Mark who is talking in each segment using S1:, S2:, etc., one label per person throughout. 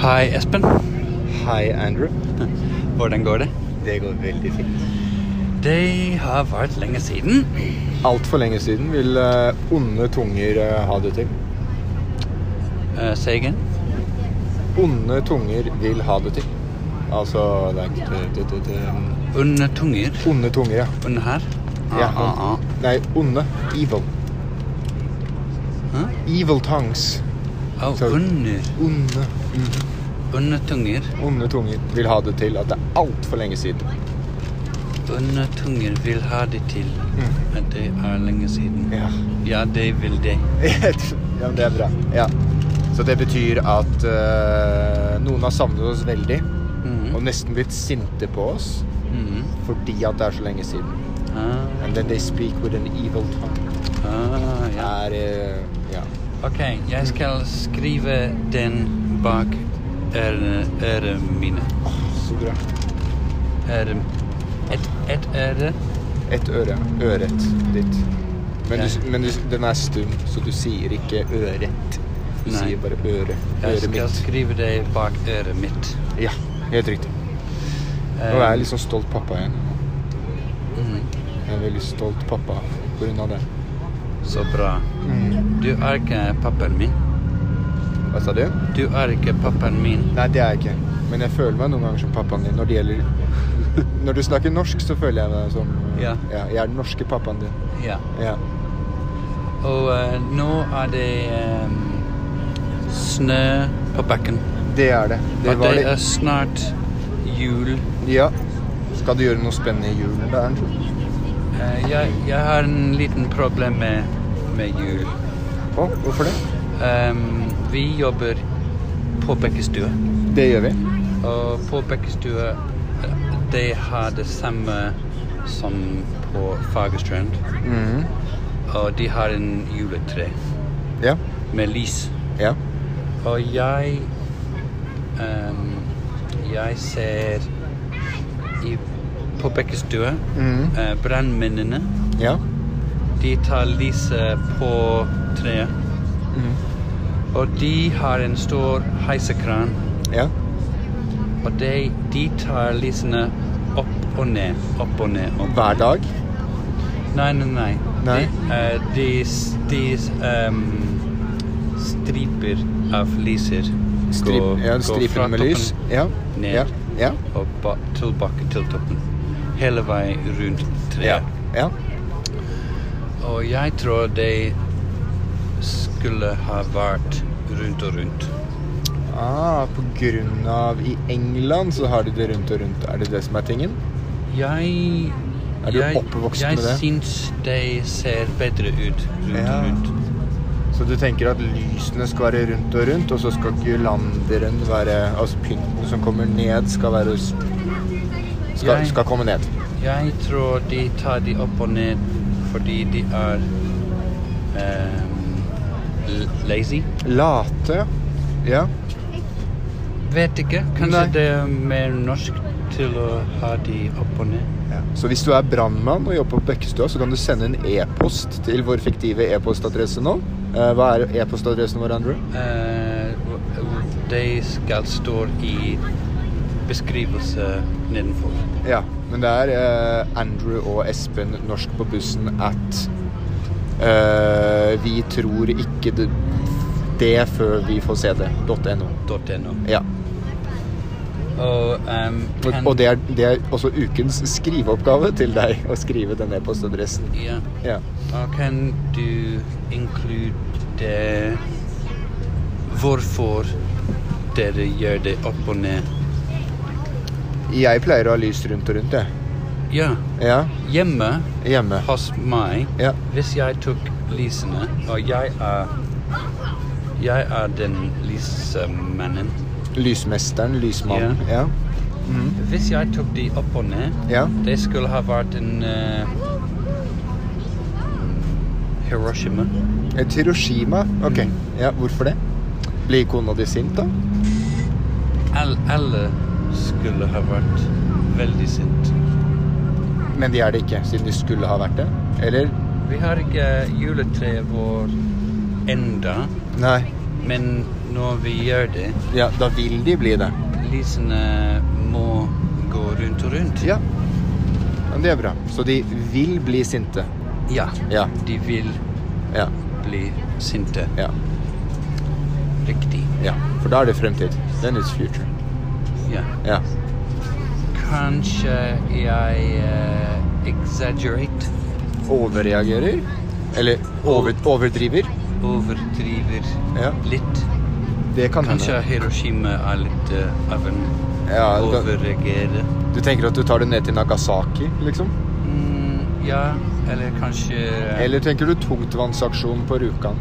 S1: Hei, Espen.
S2: Hei, Andrew.
S1: Hvordan går det?
S2: Det går veldig fint.
S1: Det har vært lenge siden.
S2: Altfor lenge siden vil eh, onde tunger eh, ha det til. Eh,
S1: Uh, say again.
S2: Onde tunger vil ha det til. Altså det er ikke det, det, det, det.
S1: Under tunger.
S2: Onde tunger, ja.
S1: Under her. Ah,
S2: ja.
S1: ah, ah.
S2: Nei, onde. Evil.
S1: Hæ?
S2: Evil tongues.
S1: Oh,
S2: Så-
S1: under.
S2: Onde.
S1: Under tunger.
S2: Onde tunger vil ha det til at det er altfor lenge siden.
S1: Under tunger vil ha det til.
S2: Mm.
S1: Men det er lenge siden.
S2: Ja.
S1: Ja, det vil det.
S2: ja, men det er bra. Ja. Så det betyr at eh, noen har savnet oss veldig, og
S1: Mhm.
S2: nesten blitt sinte på oss
S1: Mhm.
S2: fordi at det er så lenge siden.
S1: Ah,
S2: And then they speak with an evil tongue.
S1: ah, ja.
S2: Er, eh, ja.
S1: Ok, jeg skal skrive den bak øre- ørene mine.
S2: Så bra.
S1: Øre. Et, et øre.
S2: Et øre. Øret ditt. Men,
S1: Ja.
S2: du, men du, den er stum, så du sier ikke øret. Du
S1: Nei.
S2: sier bare øre.
S1: Jeg
S2: Øret
S1: skal
S2: mitt.
S1: skrive det bak øret mitt.
S2: Ja, helt riktig. Nå er jeg litt sånn stolt pappa igjen.
S1: Mhm.
S2: Jeg er veldig stolt pappa på grunn av det.
S1: Så bra. Du er ikke pappaen min.
S2: Hva sa du?
S1: Du er ikke pappaen min.
S2: Nei, det er jeg ikke. Men jeg føler meg noen ganger som pappaen din når det gjelder Når du snakker norsk, så føler jeg meg som
S1: Ja.
S2: Jeg er den norske pappaen din.
S1: Ja.
S2: Ja.
S1: Og eh, nå er det eh, snø på bakken.
S2: Det er det.
S1: Og det er snart jul.
S2: Ja. Skal du gjøre noe spennende i julen? da, Andrew?
S1: Eh, jeg, jeg har en liten problem med, med jul.
S2: Å, hvorfor det?
S1: Em, vi jobber på Bekkestua.
S2: Det gjør vi.
S1: Og på Bekkestua eh, de har det samme som på Fagerstrand.
S2: Mhm.
S1: Og de har en juletre
S2: Ja.
S1: med lys.
S2: Ja.
S1: Og jeg ehm, Jeg ser i, på Bekkestua
S2: Mhm.
S1: eh, brannmennene.
S2: Ja.
S1: De tar lyset på treet.
S2: Mhm.
S1: Og de har en stor heisekran.
S2: Ja.
S1: Og de, de tar lysene opp og ned, opp og ned. Opp.
S2: Hver dag?
S1: Nei, nei, nei.
S2: Nei?
S1: De, eh, de, s- de s- ehm, striper av lyser
S2: Strip,
S1: går-
S2: ja,
S1: går fra
S2: stripen med
S1: toppen
S2: lys? Ja.
S1: ned.
S2: Ja. Ja.
S1: og ba, tilbake til toppen. Hele veien rundt treet.
S2: Ja. ja.
S1: Og jeg tror de skulle ha vært rundt og rundt.
S2: Ah, på grunn av I England så har de det rundt og rundt. Er det det som er tingen?
S1: Jeg
S2: Er du
S1: jeg,
S2: oppvokst
S1: jeg
S2: med det?
S1: syns de ser bedre ut rundt
S2: Ja.
S1: og rundt.
S2: Så du tenker at lysene skal være rundt og rundt, og så skal gulanderen være Altså pynten som kommer ned, skal være Skal,
S1: Jeg-
S2: skal komme ned.
S1: Jeg tror de tar de opp og ned fordi de er ehm, l- lazy.
S2: Late? Ja.
S1: Vet ikke. Kanskje
S2: Nei.
S1: det er mer norsk til å ha de opp og ned.
S2: Så hvis du er brannmann og jobber på Bekkestua, så kan du sende en e-post til vår fiktive e-postadresse nå. Eh, hva er e-postadressen vår, Andrew?
S1: Eh, det skal stå i beskrivelse nedenfor.
S2: Ja, men det er eh, Andrew og Espen norsk på bussen at eh, vi tror ikke det, det før vi får se det. .no.
S1: .no.
S2: Ja.
S1: Og, ehm,
S2: Og,
S1: kan-
S2: og det, er, det er også ukens skriveoppgave til deg å skrive den e-postadressen.
S1: Ja.
S2: Ja.
S1: Og kan du inkludere hvorfor dere gjør det opp og ned?
S2: Jeg pleier å ha lys rundt og rundt, jeg.
S1: Ja.
S2: Ja.
S1: Hjemme
S2: Hjemme.
S1: hos meg
S2: Ja.
S1: Hvis jeg tok lysene, og jeg er Jeg er den lysemannen.
S2: Lysmesteren, lysmannen. Ja. Mhm.
S1: Hvis jeg tok de opp og ned
S2: Ja.
S1: Det skulle ha vært en eh, Hiroshima.
S2: Et Hiroshima? Ok.
S1: Mm.
S2: Ja, hvorfor det? Blir kona di sint, da?
S1: All, alle skulle ha vært veldig sint.
S2: Men de er det ikke, siden de skulle ha vært det. Eller?
S1: Vi har ikke juletreet vår enda,
S2: Nei.
S1: men når vi gjør det,
S2: Ja, da vil de bli det.
S1: lysene må gå rundt og rundt.
S2: Ja. Men det er bra. Så de vil bli sinte.
S1: Ja,
S2: Ja.
S1: de vil
S2: Ja.
S1: bli sinte.
S2: Ja.
S1: Riktig.
S2: ja. For da er det fremtid. Then it's future.
S1: Ja.
S2: Ja.
S1: Kanskje jeg eh, exaggerate,
S2: Overreagerer. Eller over, overdriver.
S1: overdriver
S2: Ja.
S1: litt.
S2: Det kan
S1: Kanskje
S2: hende.
S1: Hiroshima er litt eh, av en
S2: Ja, det kan-
S1: overreagere.
S2: Du tenker at du tar det ned til Nagasaki, liksom?
S1: Mm, ja, eller kanskje eh,
S2: Eller tenker du tungtvannsaksjon på Rjukan?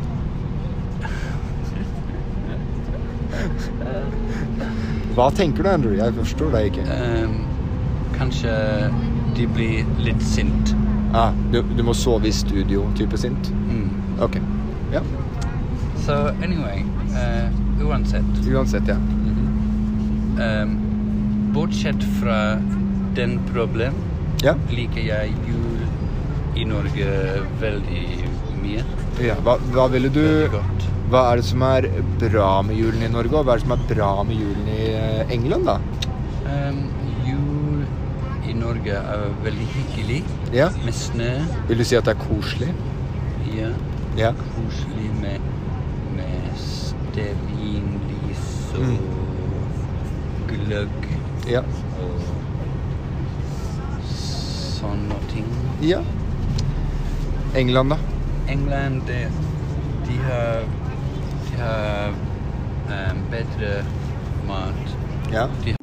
S2: Hva tenker du, Andrew? Jeg forstår deg ikke.
S1: ehm, Kanskje de blir litt sint.
S2: Ah, du, du må sove i studio, type sint?
S1: Mm.
S2: Ok. Ja.
S1: Så anyway, eh, uansett
S2: Uansett, ja.
S1: ehm, Bortsett fra den problem
S2: Ja.
S1: liker jeg jul i Norge veldig mye.
S2: ja. Hva, hva ville du
S1: Veldig godt.
S2: Hva er det som er bra med julen i Norge, og hva er det som er bra med julen i eh, England, da?
S1: Ehm, jul i Norge er veldig hyggelig
S2: Ja.
S1: med snø.
S2: Vil du si at det er koselig?
S1: Ja,
S2: Ja.
S1: koselig med, med stearinlys og
S2: Mm.
S1: gløgg
S2: Ja.
S1: og sånne ting.
S2: ja. England, da?
S1: England, det, de har, de har ehm, bedre mat.
S2: Ja.
S1: De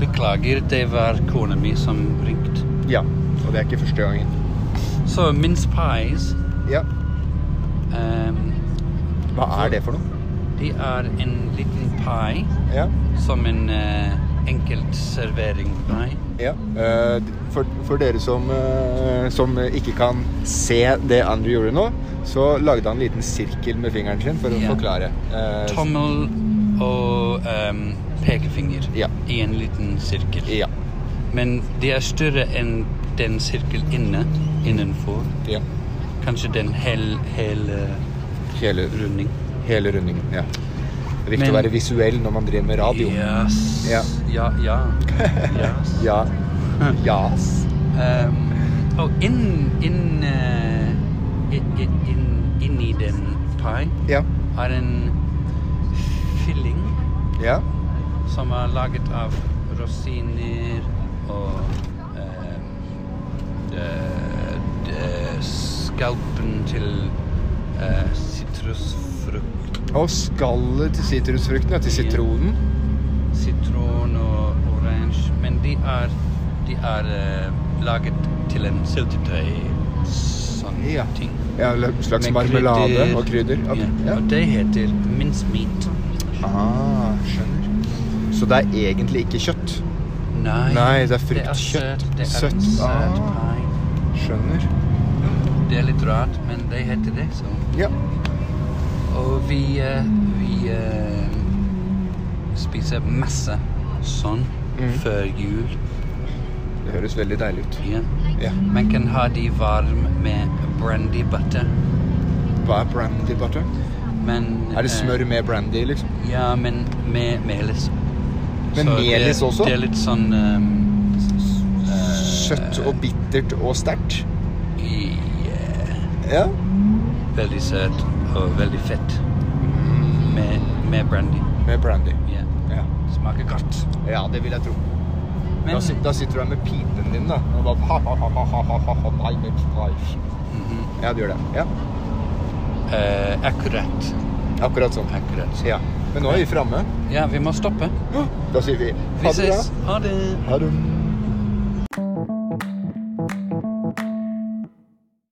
S1: Beklager, det var kona mi som ringte.
S2: ja. Og det er ikke første gangen.
S1: Så mince pies
S2: Ja.
S1: ehm,
S2: Hva er det for noe?
S1: Det er en liten pai
S2: Ja.
S1: som en eh, enkelt servering pai.
S2: Ja. Eh, For, for dere som, eh, som ikke kan se det Andrew gjorde nå, så lagde han en liten sirkel med fingeren sin for å
S1: Ja.
S2: forklare. Eh,
S1: Tommel og ehm, pekefinger
S2: Ja.
S1: i en liten sirkel.
S2: Ja.
S1: Men de er større enn den sirkel inne, innenfor.
S2: ja.
S1: Kanskje den hel, hele
S2: Hele,
S1: runding.
S2: hele rundingen. Ja. Det er viktig
S1: Men-
S2: å være visuell når man driver med radio.
S1: Yes.
S2: Ja.
S1: Ja, ja. Yes.
S2: Ja. Jas.
S1: Ehm, og inn, inn, eh, i- i- inn, inni den pai
S2: Ja.
S1: er en fylling
S2: Ja.
S1: som er laget av rosiner og eh, eh, d- skalpen til eh, sitrusfrukt.
S2: Og skallet til sitrusfruktene, til
S1: Ja.
S2: sitronen.
S1: Sitron og oransje. Men de er, de er eh, laget til en syltetøy. Sånne
S2: Ja.
S1: ting.
S2: Ja, eller en slags
S1: Med
S2: marmelade og krydder.
S1: Ja.
S2: Ok, Ja.
S1: Og det heter mince meat.
S2: Ah, skjønner. Så det er egentlig ikke kjøtt?
S1: Nei,
S2: Nei, det er
S1: det er søt.
S2: fruktkjøtt.
S1: Det er
S2: Søtt.
S1: en søt
S2: Ah.
S1: pai.
S2: Skjønner.
S1: Det er litt rart, men det heter det. Så.
S2: Ja.
S1: Og vi, eh, vi eh, spiser masse sånn
S2: Mhm.
S1: før jul.
S2: Det høres veldig deilig ut.
S1: Ja.
S2: Ja.
S1: Man kan ha de varm med brandy butter.
S2: Hva er brandy butter?
S1: Men,
S2: Er det
S1: eh,
S2: smør med brandy, liksom?
S1: Ja, men med melis.
S2: Med
S1: Så
S2: melis
S1: det,
S2: også?
S1: Det er litt sånn ehm, s- s- eh,
S2: Søtt og bittert og sterkt?
S1: ja,
S2: Ja.
S1: eh, Veldig søt og veldig fett
S2: Mm.
S1: med, med brandy.
S2: Med brandy.
S1: Ja.
S2: Ja.
S1: Smaker godt.
S2: ja, det vil jeg tro.
S1: Men,
S2: Da, sit- da sitter du her med pipen din, da. Og bare ha, ha, ha, ha, ha, ha, ha, ha, nei, det er streif.
S1: Mhm.
S2: Ja, du gjør det. Ja,
S1: eh, akkurat.
S2: Akkurat sånn.
S1: akkurat.
S2: Ja. Men nå er vi framme.
S1: Ja, vi må stoppe.
S2: Da sier vi
S1: Vi
S2: ha det bra.
S1: ses. Ha det.
S2: Ha det.